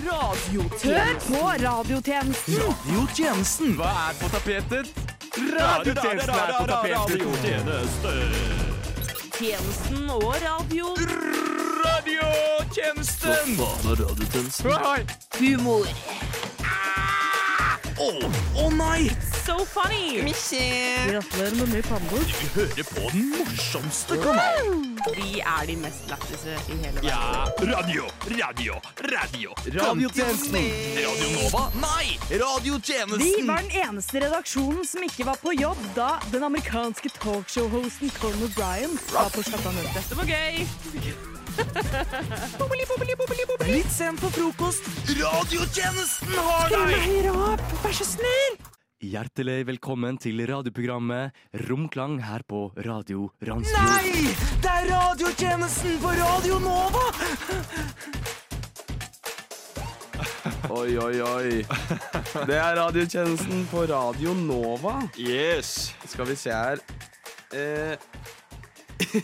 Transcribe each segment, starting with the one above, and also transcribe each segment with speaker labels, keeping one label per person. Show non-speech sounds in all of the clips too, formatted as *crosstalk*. Speaker 1: Hør på radiotjenesten.
Speaker 2: Radiotjenesten. Hva er på tapetet? Radiotjenesten er på tapetet.
Speaker 1: Tjenesten og radio.
Speaker 2: Radiotjenesten!
Speaker 3: Faen av radiotjenesten.
Speaker 2: Hei!
Speaker 1: Humor.
Speaker 2: Å å nei!
Speaker 1: So funny. Gratulerer med mye pannebord.
Speaker 2: Hører på den morsomste kanalen.
Speaker 1: Vi er de mest lættise i hele verden.
Speaker 2: Ja, radio, radio, radio. Radiotjenesten. Radio Nova? Nei!
Speaker 4: Vi
Speaker 2: Radiotjenesten.
Speaker 4: var den eneste redaksjonen som ikke var på jobb da den amerikanske talkshow-hosten Colin O'Brien var på sjappanøte.
Speaker 1: Det var gøy.
Speaker 2: Litt sent på frokost. Radiotjenesten har deg!
Speaker 4: Høyre opp, vær så snill!
Speaker 3: Hjertelig velkommen til radioprogrammet Romklang her på Radio Randsfjord.
Speaker 2: Nei! Det er radiotjenesten på Radio Nova!
Speaker 5: Oi, oi, oi. Det er radiotjenesten på Radio Nova.
Speaker 2: Yes.
Speaker 5: Skal vi se her eh. *laughs*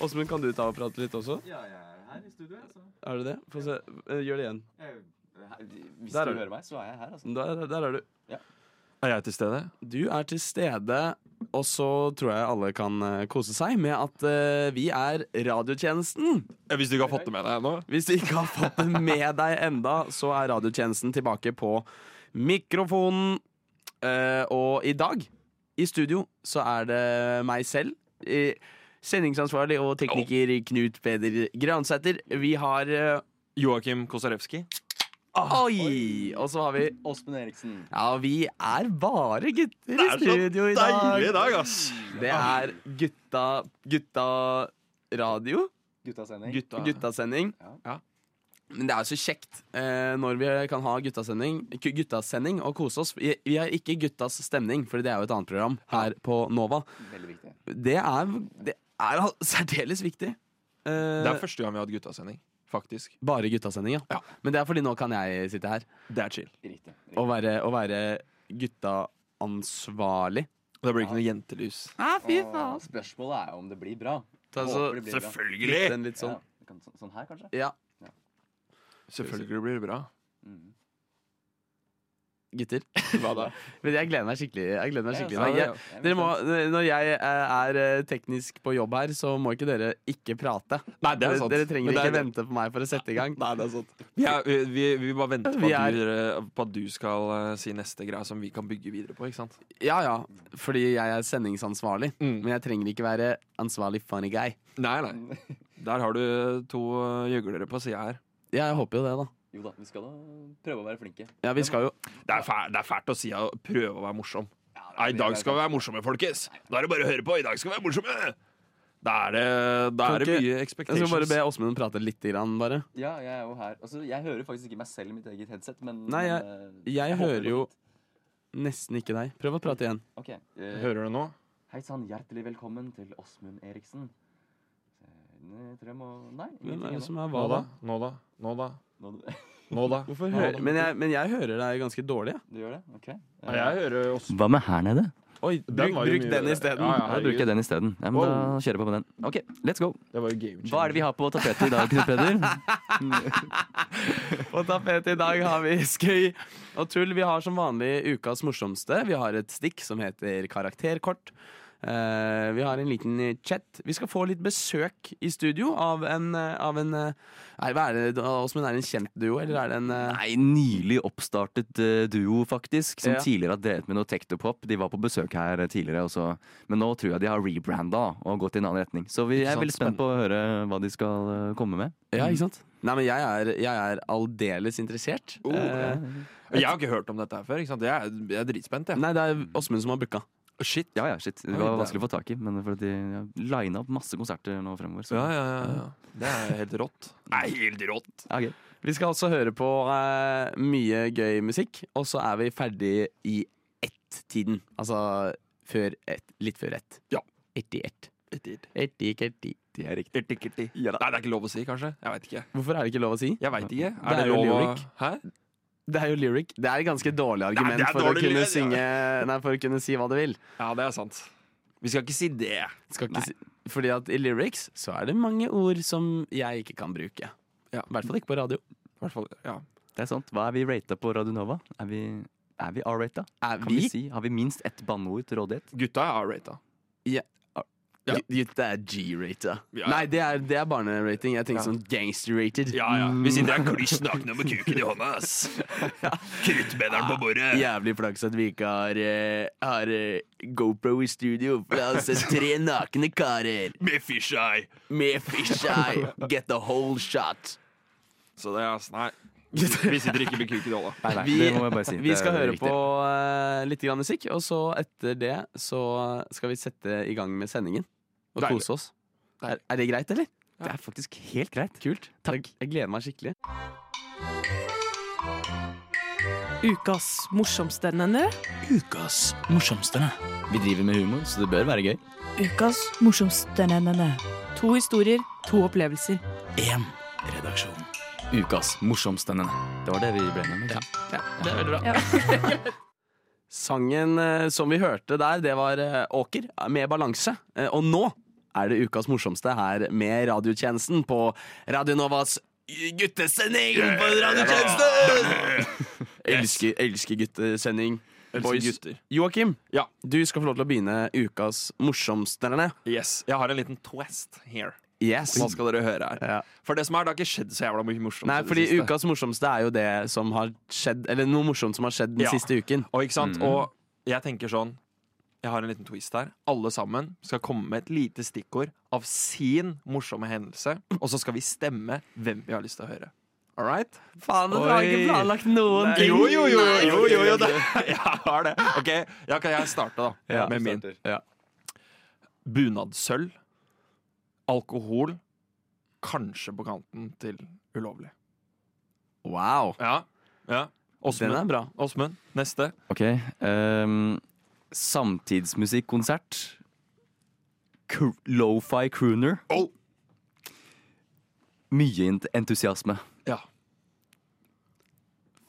Speaker 5: Åsmund, kan du ta og prate litt også?
Speaker 6: Ja, jeg er her i studio. Altså.
Speaker 5: Er du det? Få se. Eh, Gjør det igjen.
Speaker 6: Jeg, her- hvis
Speaker 5: Der er
Speaker 6: du
Speaker 5: du.
Speaker 6: hører meg, så er jeg her. Altså.
Speaker 5: Der, der er du.
Speaker 6: Er jeg til stede?
Speaker 5: Du er til stede, og så tror jeg alle kan eh, kose seg med at eh, vi er radiotjenesten.
Speaker 6: Hvis du ikke har fått det med deg ennå?
Speaker 5: Hvis du ikke har fått det med deg enda, så er radiotjenesten tilbake på mikrofonen. Eh, og i dag, i studio, så er det meg selv. eh, Sendingsansvarlig og tekniker Knut Peder Gransæter. Vi har eh,
Speaker 6: Joakim Kosarewski.
Speaker 5: Oi! Og så har vi
Speaker 6: Ah, Åsmund Eriksen.
Speaker 5: Ja, vi er bare gutter i
Speaker 6: er så
Speaker 5: studio i dag.
Speaker 6: i dag, ass!
Speaker 5: Det er gutta Gutta radio.
Speaker 6: Guttasending.
Speaker 5: Guttasending.
Speaker 6: Ja.
Speaker 5: Ja. Men det er jo så kjekt eh, når vi kan ha guttasending, k- guttasending og kose oss. Vi, vi har ikke Guttas stemning, for det er jo et annet program her på Nova.
Speaker 6: Veldig viktig.
Speaker 5: Det er, det er al- *laughs* særdeles viktig. Eh,
Speaker 6: Det er første gang vi har hatt guttasending. Faktisk.
Speaker 5: bare guttasending, ja.
Speaker 6: Ja.
Speaker 5: Men det er fordi nå kan jeg sitte her
Speaker 6: Det er chill. Riktig.
Speaker 5: og være, og være guttaansvarlig.
Speaker 6: Da blir det ikke noe jentelys.
Speaker 5: Ah, fy faen.
Speaker 7: Spørsmålet er jo om det blir bra.
Speaker 5: Ta så-
Speaker 7: Håper det blir bra.
Speaker 6: Selvfølgelig!
Speaker 5: den litt sånn.
Speaker 7: Ja, det kan- så- sånn her, kanskje?
Speaker 5: Ja,
Speaker 6: Selvfølgelig blir det bra.
Speaker 7: Mm.
Speaker 5: gutter.
Speaker 6: Hva da?
Speaker 5: *laughs* Men jeg gleder meg skikkelig. Jeg gleder meg
Speaker 7: Ja,
Speaker 5: skikkelig.
Speaker 6: ja,
Speaker 5: i dag.
Speaker 6: ja.
Speaker 5: Jeg, Dere må, når jeg eh, er eh, teknisk på jobb her, så må ikke dere ikke prate.
Speaker 6: Nei, det er sant.
Speaker 5: Dere trenger
Speaker 6: Men det
Speaker 5: ikke
Speaker 6: er-
Speaker 5: vente på meg for å sette i gang.
Speaker 6: Nei, det er sant. Vi, er, vi, vi, vi bare venter på,
Speaker 5: Vi
Speaker 6: at du, på at du skal eh, si neste greie som vi kan bygge videre på. ikke sant?
Speaker 5: Ja ja, fordi jeg er sendingsansvarlig.
Speaker 6: Mm.
Speaker 5: Men jeg trenger ikke være ansvarlig funny guy.
Speaker 6: Nei, nei. Der har du to eh, gjøglere på sida her.
Speaker 5: Ja, jeg håper jo det, da.
Speaker 7: Jo da, vi skal da prøve å være flinke.
Speaker 5: Ja, vi skal jo
Speaker 6: Det er, fæ- det er fælt å si å prøve å være morsom.
Speaker 7: Ja, det er
Speaker 6: Nei, I dag
Speaker 7: veldig
Speaker 6: skal vi
Speaker 7: bra.
Speaker 6: være morsomme, folkens! Da er det bare å høre på! I dag skal vi være morsomme! Da er det, da
Speaker 5: Kan
Speaker 6: er det
Speaker 5: ikke-
Speaker 6: mye
Speaker 5: Jeg
Speaker 6: expectations.
Speaker 5: skal bare be Åsmund prate lite grann, bare.
Speaker 7: Ja, jeg er jo her. Altså, jeg hører faktisk ikke meg selv i mitt eget headset, men
Speaker 5: Nei, jeg-
Speaker 7: men, eh,
Speaker 5: Jeg
Speaker 7: håper det
Speaker 5: hører
Speaker 7: går
Speaker 5: jo
Speaker 7: fint.
Speaker 5: nesten ikke deg. Prøv å prate igjen.
Speaker 7: Ok. eh,
Speaker 6: Hører du nå?
Speaker 7: Hei sann, hjertelig velkommen til Åsmund Eriksen. Eh, tror jeg må Nei,
Speaker 5: Hvem er
Speaker 7: ingenting
Speaker 5: det som
Speaker 7: ennå.
Speaker 5: er hva
Speaker 6: Nå
Speaker 5: da?
Speaker 6: da? Nå da? Nå da?
Speaker 7: Nå- *laughs*
Speaker 6: Nå da?
Speaker 5: Hvorfor
Speaker 6: Nå
Speaker 5: hører
Speaker 6: da?
Speaker 5: men, jeg, men jeg hører deg ganske dårlig. Ja.
Speaker 7: Du gjør det? Ok.
Speaker 6: Ja, Jeg hører oss.
Speaker 3: Hva med her nede?
Speaker 5: Oi, bruk,
Speaker 6: var jo
Speaker 5: bruk
Speaker 6: mye
Speaker 5: den
Speaker 6: bedre.
Speaker 5: isteden.
Speaker 6: Ja, ja,
Speaker 3: Da bruker jeg
Speaker 6: herregud.
Speaker 3: den isteden. Ja, men da kjører vi på med den. Ok, let's go.
Speaker 6: Det var jo game
Speaker 3: Hva er det vi har på tapetet i dag, Knut Peder?
Speaker 5: På tapetet i dag har vi skøy og tull. Vi har som vanlig ukas morsomste. Vi har et stikk som heter karakterkort. Eh, vi har en liten chat. Vi skal få litt besøk i studio av en, eh, av en eh, Nei, hva er det, da, Åsmund? Er det en kjent duo, eller er det en eh,
Speaker 3: Nei, nylig oppstartet eh, duo, faktisk. Som
Speaker 5: Ja.
Speaker 3: tidligere har drevet med noe tektopop. De var på besøk her eh, tidligere, og så- men nå tror jeg de har rebranda og gått i en annen retning. Så vi er
Speaker 6: sant,
Speaker 3: veldig spent på å høre hva de skal eh, komme med.
Speaker 5: Ja, ikke sant? Nei, men jeg er, jeg er aldeles interessert.
Speaker 6: Oh,
Speaker 5: Eh,
Speaker 6: Jeg har ikke hørt om dette her før. ikke sant? Jeg er, jeg er dritspent. Jeg.
Speaker 5: Nei, det er Åsmund som har booka.
Speaker 6: Shit.
Speaker 3: Ja ja, shit. Det
Speaker 6: Oi,
Speaker 3: var
Speaker 6: det-
Speaker 3: vanskelig å få tak i, men for de ja, lina opp masse konserter nå fremover. Så.
Speaker 6: Ja, ja, ja, ja. Det er helt rått. Nei, helt rått.
Speaker 3: Ja, ok.
Speaker 5: Vi skal også høre på eh, mye gøy musikk, og så er vi ferdig i ett-tiden. Altså før ett, litt før ett.
Speaker 6: Ja.
Speaker 5: Ett i ett.
Speaker 6: Nei, det
Speaker 5: Ett i ett i.
Speaker 3: er riktig.
Speaker 6: er ikke lov å si, kanskje. Jeg veit ikke.
Speaker 5: Hvorfor er det ikke lov å si?
Speaker 6: Jeg vet ikke. Er
Speaker 5: Det
Speaker 6: det,
Speaker 5: er jo
Speaker 6: lov å
Speaker 5: lyric.
Speaker 6: Hæ?
Speaker 5: Det er jo lyric. Det er et ganske dårlig argument
Speaker 6: det er
Speaker 5: for,
Speaker 6: dårlig
Speaker 5: å kunne
Speaker 6: lyric, ja.
Speaker 5: synge, nei, for å kunne si hva du vil.
Speaker 6: Ja, det er sant. Vi skal ikke si det.
Speaker 5: Skal ikke si, fordi at i lyrics så er det mange ord som jeg ikke kan bruke.
Speaker 6: Ja.
Speaker 5: I hvert fall ikke på radio. I hvert fall, ja.
Speaker 3: Det er sant. Hva er vi rata på Radio Nova? Er vi, er vi R-rata?
Speaker 5: Er
Speaker 3: Kan vi si, Har vi minst ett banneord til rådighet?
Speaker 6: Gutta er R-rata. Ja.
Speaker 5: Gutta er G-rata.
Speaker 6: Ja.
Speaker 5: Nei, det er, det er barnerating. Jeg tenker sånn gangster-rated.
Speaker 6: Ja, ja. Vi sitter her kliss nakne med kuken i hånda, *laughs* ass. Kruttbenderen på bordet.
Speaker 5: Jævlig flaks at vi ikke har, eh, har eh, GoPro i studio. For det er altså tre nakne karer
Speaker 6: Med fisheye.
Speaker 5: med fisheye. Get the whole shot.
Speaker 6: Så det er ass, Nei. Vi sitter ikke med kuken i hånda.
Speaker 3: Nei, nei,
Speaker 5: Vi-
Speaker 3: det må jeg bare si.
Speaker 5: Vi
Speaker 3: Det
Speaker 5: skal
Speaker 3: er
Speaker 5: høre
Speaker 3: riktig.
Speaker 5: på eh, litt grann musikk, og så etter det så skal vi sette i gang med sendingen. Og
Speaker 6: Deilig.
Speaker 5: kose oss. Er, er det greit, eller?
Speaker 3: Det er faktisk helt greit.
Speaker 5: Kult. Jeg, jeg gleder meg skikkelig.
Speaker 1: Ukas morsomste, nenne.
Speaker 2: Ukas morsomste.
Speaker 5: Vi driver med humor, så det bør være gøy.
Speaker 1: Ukas morsomste, nenne. To historier, to opplevelser.
Speaker 2: Én redaksjon.
Speaker 3: Ukas morsomste. nenne. Det var det vi ble med. Ja.
Speaker 5: Det er veldig bra.
Speaker 1: Ja.
Speaker 5: Sangen eh, som vi hørte der, det var eh, Åker med balanse. Eh, og nå er det ukas morsomste her med radiotjenesten på Radio Novas guttesending på
Speaker 6: *laughs*
Speaker 5: radiotjenesten! elsker, elsker guttesending. Boys.
Speaker 6: gutter.
Speaker 5: Joakim,
Speaker 6: Ja.
Speaker 5: du skal få lov til å begynne ukas morsomsterne.
Speaker 6: Yes. Jeg har en liten twist here.
Speaker 5: Yes.
Speaker 6: Nå skal dere høre her.
Speaker 5: Ja.
Speaker 6: For det som er, det har ikke skjedd så jævla mye morsomt.
Speaker 5: Nei,
Speaker 6: i det
Speaker 5: fordi
Speaker 6: siste.
Speaker 5: ukas morsomste er jo det som har skjedd, eller noe morsomt som har skjedd den
Speaker 6: Ja.
Speaker 5: siste uken.
Speaker 6: Og, ikke sant? og jeg tenker sånn Jeg har en liten twist her. Alle sammen skal komme med et lite stikkord av sin morsomme hendelse, og så skal vi stemme hvem vi har lyst til å høre. All right?
Speaker 5: Faen,
Speaker 6: dere har ikke planlagt
Speaker 5: noen
Speaker 6: Jo, jo, jo! jo, jo, jo *laughs* det. Jeg har det. OK, ja, kan jeg starte, da?
Speaker 5: Ja,
Speaker 6: med min.
Speaker 5: Ja.
Speaker 6: Bunadssølv. Alkohol. Kanskje på kanten til ulovlig.
Speaker 5: Wow.
Speaker 6: Ja. ja.
Speaker 5: Den er
Speaker 6: Åsmund.
Speaker 5: bra.
Speaker 6: Åsmund, neste.
Speaker 3: Ok. ehm, samtidsmusikkonsert. Cr- Lo-fi crooner.
Speaker 6: Oh.
Speaker 3: Mye ent- entusiasme.
Speaker 6: Ja.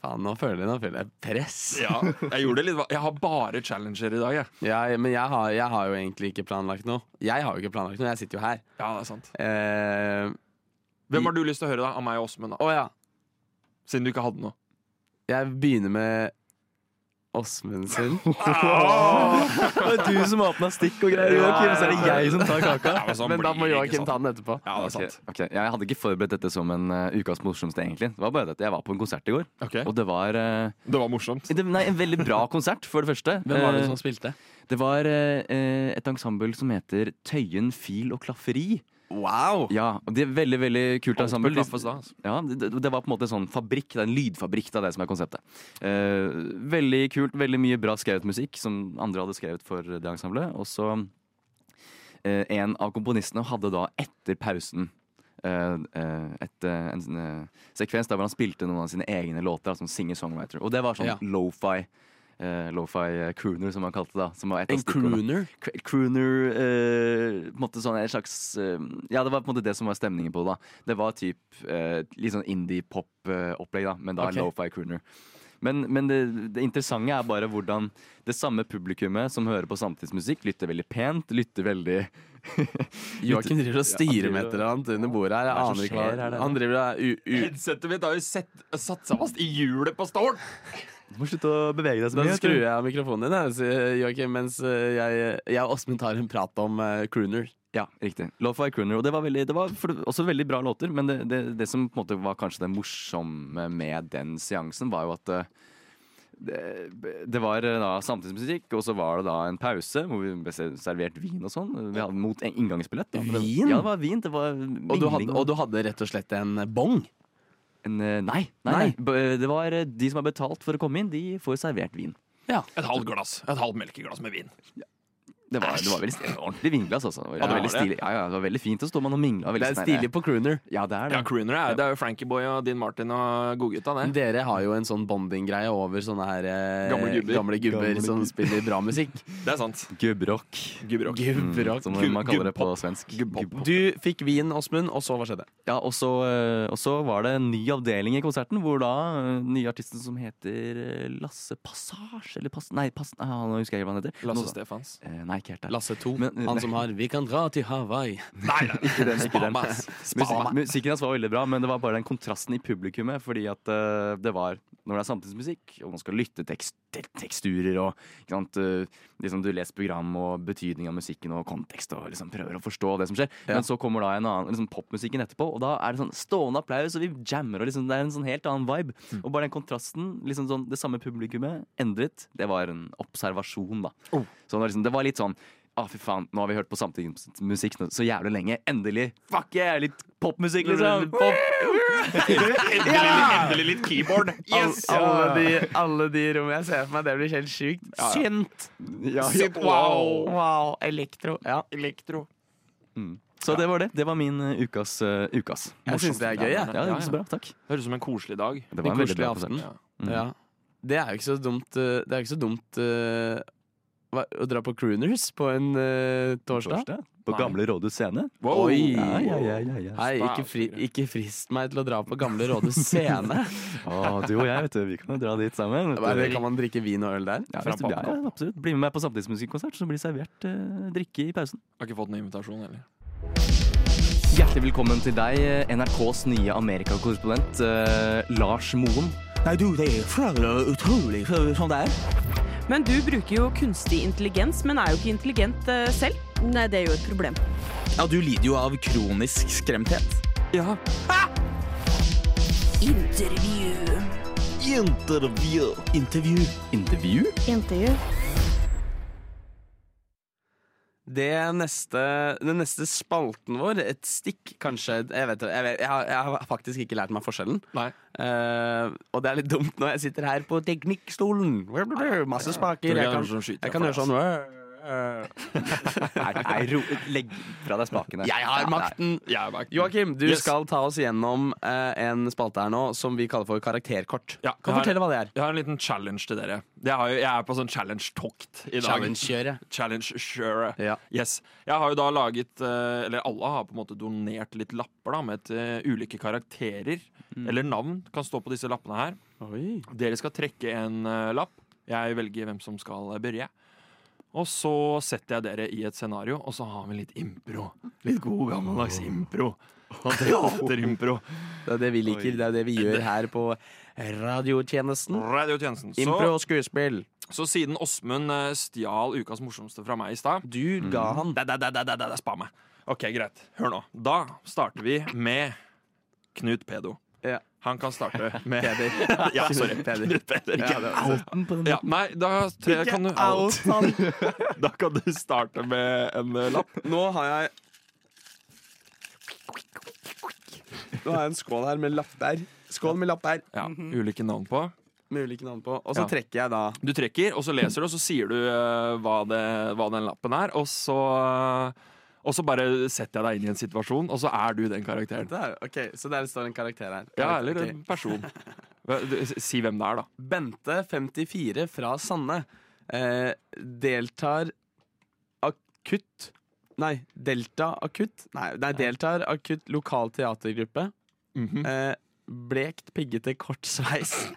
Speaker 5: Faen, nå føler jeg, nå føler jeg press.
Speaker 6: ja. Jeg gjorde det litt va- Jeg har bare challenger i dag, jeg.
Speaker 5: Jeg, men jeg har, jeg har jo egentlig ikke planlagt noe. Jeg har jo ikke planlagt noe, jeg sitter jo her.
Speaker 6: Ja, det er sant.
Speaker 5: Eh,
Speaker 6: Hvem har du lyst til å høre da, av meg og Åsmund? da?
Speaker 5: Å ja.
Speaker 6: Siden du ikke hadde noe.
Speaker 5: Jeg begynner med Åsmund sin.
Speaker 6: Ah.
Speaker 3: *laughs* Det er du som åpna stikk og greier, Joakim, så er det jeg som tar kaka.
Speaker 6: Ja, men sånn
Speaker 5: men da
Speaker 6: blir
Speaker 5: må
Speaker 6: det ikke
Speaker 5: Joakim
Speaker 6: sant.
Speaker 5: ta den etterpå.
Speaker 6: Ja, det er
Speaker 3: Ok,
Speaker 6: sant.
Speaker 3: ok. Jeg hadde ikke forberedt dette som en eh, ukas morsomste, egentlig. Det var bare dette. Jeg var på en konsert i går, og det var eh,
Speaker 6: Det var morsomt.
Speaker 3: det, Nei, en veldig bra *laughs* konsert, for det første.
Speaker 5: Hvem var det
Speaker 3: Eh,
Speaker 5: som spilte?
Speaker 3: Det var eh, eh, et ensemble som heter Tøyen, Fil og Klafferi.
Speaker 5: Wow!
Speaker 3: Ja, og det er veldig, veldig kult ensemble. De-
Speaker 6: klaffes da, altså.
Speaker 3: Ja, det, det var på en måte en sånn fabrikk, det er en lydfabrikk, det er det som er konseptet. Eh, veldig kult, veldig mye bra skrevet musikk som andre hadde skrevet for det ensemblet. Og så eh, en av komponistene hadde da etter pausen eh, eh, et, eh, en, sånn, eh, sekvens der hvor han spilte noen av sine egne låter, altså singer-songwriter. Og det var sånn
Speaker 5: Ja.
Speaker 3: lo-fi. Uh, Lo-fi crooner, som han kalte det. da som var et av
Speaker 5: En
Speaker 3: stikkordene.
Speaker 5: crooner?
Speaker 3: Cr- crooner eh, på en måte sånn en slags eh, Ja, det var på en måte det som var stemningen på det. da Det var typ eh, litt sånn indie-pop-opplegg, da men da
Speaker 5: Ok.
Speaker 3: lo-fi crooner. Men, men det, det interessante er bare hvordan det samme publikummet som hører på samtidsmusikk, lytter veldig pent, lytter veldig
Speaker 5: Joakim driver og styrer med et eller annet under bordet her. Jeg aner ikke hva Han driver og u... u
Speaker 6: Headsetet mitt har jo sett- satt seg fast i hjulet på stolen!
Speaker 3: Du må slutte å bevege deg så
Speaker 5: da
Speaker 3: mye.
Speaker 5: skrur jeg av mikrofonen din, jeg, sier Joakim, mens eh, jeg, jeg og Åsmund tar en prat om eh, crooner.
Speaker 3: Ja, riktig. Lo-fi crooner. Og det var, veldig, det var for, også veldig bra låter, men det, det, det som på en måte var kanskje det morsomme med den seansen, var jo at eh, det, det var eh, da samtidsmusikk, og så var det da en pause hvor vi ble ser- servert vin og sånn. Vi hadde mot en inngangsbillett. Da, men det,
Speaker 5: Vin?
Speaker 3: Ja, det var vin. Det var
Speaker 5: Og du, hadde,
Speaker 3: mingling.
Speaker 5: og du hadde rett og slett en bong?
Speaker 3: En, eh, nei, nei, nei.
Speaker 5: Nei.
Speaker 3: B- Det var eh, de som har betalt for å komme inn, de får servert vin.
Speaker 5: Ja.
Speaker 6: Et halvt glass. Et halvt melkeglass med vin.
Speaker 3: Det var, det var veldig stilig. Ordentlig vinglass, altså. Det var,
Speaker 6: Ja, det var
Speaker 3: veldig
Speaker 6: det.
Speaker 3: stilig. Ja, ja, det var veldig fint. Så står man og mingla.
Speaker 5: Det
Speaker 3: veldig
Speaker 5: er
Speaker 3: sånn her-
Speaker 5: stilig på crooner.
Speaker 3: Ja, det er det.
Speaker 6: Ja, crooner er, det er jo Frankieboy og Dean Martin og godgutta,
Speaker 5: Men
Speaker 6: det.
Speaker 5: Dere har jo en sånn bonding-greie over sånne her eh,
Speaker 6: Gamle gubber.
Speaker 5: gamle gubber
Speaker 3: Gamle
Speaker 5: som
Speaker 3: gubber.
Speaker 5: spiller bra *laughs* musikk. Mm.
Speaker 6: Det er sant.
Speaker 3: Gubbrock.
Speaker 6: Gubberock.
Speaker 5: Gubberock.
Speaker 3: Som man kaller det på svensk.
Speaker 6: Gubbpop.
Speaker 5: Du fikk vin, Åsmund, og så hva skjedde?
Speaker 3: Ja, og så, eh, og så var det en ny avdeling i konserten, hvor da eh, nye artisten som heter eh, Lasse Passage Eller Pass... Nei, Pass... ah, nå husker jeg ikke hva han heter.
Speaker 6: Lasse
Speaker 3: Nå-
Speaker 6: Stefans.
Speaker 3: Eh, Nei, ikke helt der.
Speaker 5: Lasse 2,
Speaker 6: *laughs*
Speaker 3: Men- eh,
Speaker 5: han som har 'Vi kan dra til Hawaii'.
Speaker 2: Nei, nei, nei.
Speaker 3: Ikke den, ikke den.
Speaker 5: Bamas.
Speaker 3: Musikk- Musikken hans var veldig bra, men det var bare den kontrasten i publikummet. Fordi at eh, det var Når det er samtidsmusikk, og man skal lytte tekst, til teksturer og ikke sant, eh, liksom Du leser program og betydning av musikken og kontekst og liksom prøver å forstå det som skjer. Men så kommer da en annen liksom popmusikken etterpå, og da er det sånn stående applaus, og vi jammer, og liksom, det er en sånn helt annen vibe. Og bare den kontrasten, liksom sånn, det samme publikummet endret, det var en observasjon, da. Så det var, liksom, det var litt sånn Ah, fy faen, nå har vi hørt på samtidsmusikk nå- så jævlig lenge. Endelig! Fuck yeah! Litt popmusikk, liksom!
Speaker 2: Endelig, endelig litt keyboard. Yes!
Speaker 5: Alle, alle, de, alle de rommene jeg ser for meg, det blir helt sjukt. Synt!
Speaker 3: Ja, ja.
Speaker 5: Synt, wow! wow. Elektro. Ja.
Speaker 6: Elektro.
Speaker 3: Så det var det. Det var min eh, ukas. eh, ukas.
Speaker 5: Jeg syns det er gøy, jeg.
Speaker 3: Ja, det gikk så bra. Takk.
Speaker 6: Høres ut som en koselig dag.
Speaker 3: Det
Speaker 5: En
Speaker 3: var en veldig
Speaker 5: koselig
Speaker 3: bra Mm.
Speaker 5: aften.
Speaker 3: konsert.
Speaker 6: Ja.
Speaker 5: Mm. Ja. Det er jo ikke så dumt eh, Det er jo ikke så dumt eh, hva- å dra på crooners på en eh, torsdag.
Speaker 3: Torsdag. På Gamle Rådhus scene.
Speaker 5: Oi.
Speaker 3: Ja, ja, ja, ja, ja.
Speaker 5: Nei, ikke, fri, ikke frist meg til å dra på Gamle Rådhus
Speaker 3: *laughs*
Speaker 5: scene. *laughs*
Speaker 3: Å, du og jeg, vet du. Vi kan jo dra dit sammen. vet
Speaker 5: Hva er
Speaker 3: du.
Speaker 5: det, kan man drikke vin og øl der?
Speaker 3: Ja, hvis du- ja, ja, absolutt. Bli med meg på samtidsmusikkonsert, så blir det servert eh, drikke i pausen.
Speaker 6: Har ikke fått noen invitasjon heller.
Speaker 3: Hjertelig velkommen til deg, eh, NRKs nye Amerikakorrespondent eh, Lars Moen.
Speaker 8: Nei, du, det er flere utrolig så- sånn det er.
Speaker 9: Men du bruker jo kunstig intelligens, men er jo ikke intelligent eh, selv. Nei, det er jo et problem.
Speaker 8: Ja, du lider jo av kronisk skremthet.
Speaker 6: Ja.
Speaker 8: Intervju. Intervju.
Speaker 3: Intervju?
Speaker 5: Det neste, den neste spalten vår, et stikk kanskje Jeg vet det, jeg, vet, jeg, har, jeg har faktisk ikke lært meg forskjellen.
Speaker 6: Nei.
Speaker 5: Eh, og det er litt dumt når jeg sitter her på teknikkstolen. Masse spaker. Jeg kan, jeg kan gjøre sånn
Speaker 3: Nei, nei ro, legg fra deg spakene.
Speaker 5: *laughs* Jeg har makten! Joakim, du skal ta oss gjennom eh, en spalte her nå som vi kaller for karakterkort.
Speaker 6: Ja,
Speaker 5: kan
Speaker 6: jeg har-
Speaker 5: fortelle hva det er.
Speaker 6: Jeg har en liten challenge til dere. Jeg, har jo, jeg er på sånn challenge-tokt i dag.
Speaker 5: Challenge-kjøret.
Speaker 6: Challenge, sure.
Speaker 5: Ja.
Speaker 6: Yes. Jeg har jo da laget eh, Eller alle har på en måte donert litt lapper da med et, eh, ulike karakterer. Eller navn kan stå på disse lappene her. Dere skal trekke en eh, lapp. Jeg velger hvem som skal eh, børje. Og så setter jeg dere i et scenario, og så har vi litt impro. Litt god gammeldags impro. Sånn Teaterimpro.
Speaker 5: Det er det vi liker. Det er det vi gjør her på radiotjenesten.
Speaker 6: Radiotjenesten. Så,
Speaker 5: Impro og skuespill.
Speaker 6: så siden Åsmund eh, stjal ukas morsomste fra meg i stad
Speaker 5: Du ga han
Speaker 6: Da, da, da, da, da, da, da, Spar meg. OK, greit. Hør nå. Da starter vi med Knut Pedo.
Speaker 5: Ja.
Speaker 6: Han kan starte med
Speaker 5: Peder.
Speaker 6: *laughs* Ja, sorry.
Speaker 5: Peder.
Speaker 6: Knut Peder.
Speaker 5: Ja, det var-
Speaker 6: Ja, nei, da tre, kan du *laughs* Da kan du starte med en eh, lapp.
Speaker 5: Nå har jeg Nå har jeg en skål her med lapper. Skål med lapper
Speaker 6: Ja, Ulike navn på.
Speaker 5: med ulike navn på. Og så
Speaker 6: Ja.
Speaker 5: trekker jeg da
Speaker 6: Du trekker, og så leser du, og så sier du eh, hva, det, hva den lappen er, og så eh, og så bare setter jeg deg inn i en situasjon, og så er du den karakteren.
Speaker 5: det er, Ok, Så der står en karakter her.
Speaker 6: Ja, eller
Speaker 5: Ok.
Speaker 6: en person. Hva- du- Si hvem det er, da.
Speaker 5: Bente, 54, fra Sande, eh, deltar akutt Nei, Delta akutt. Nei, nei deltar akutt lokal teatergruppe.
Speaker 6: Mhm.
Speaker 5: eh, blekt, piggete, kort sveis.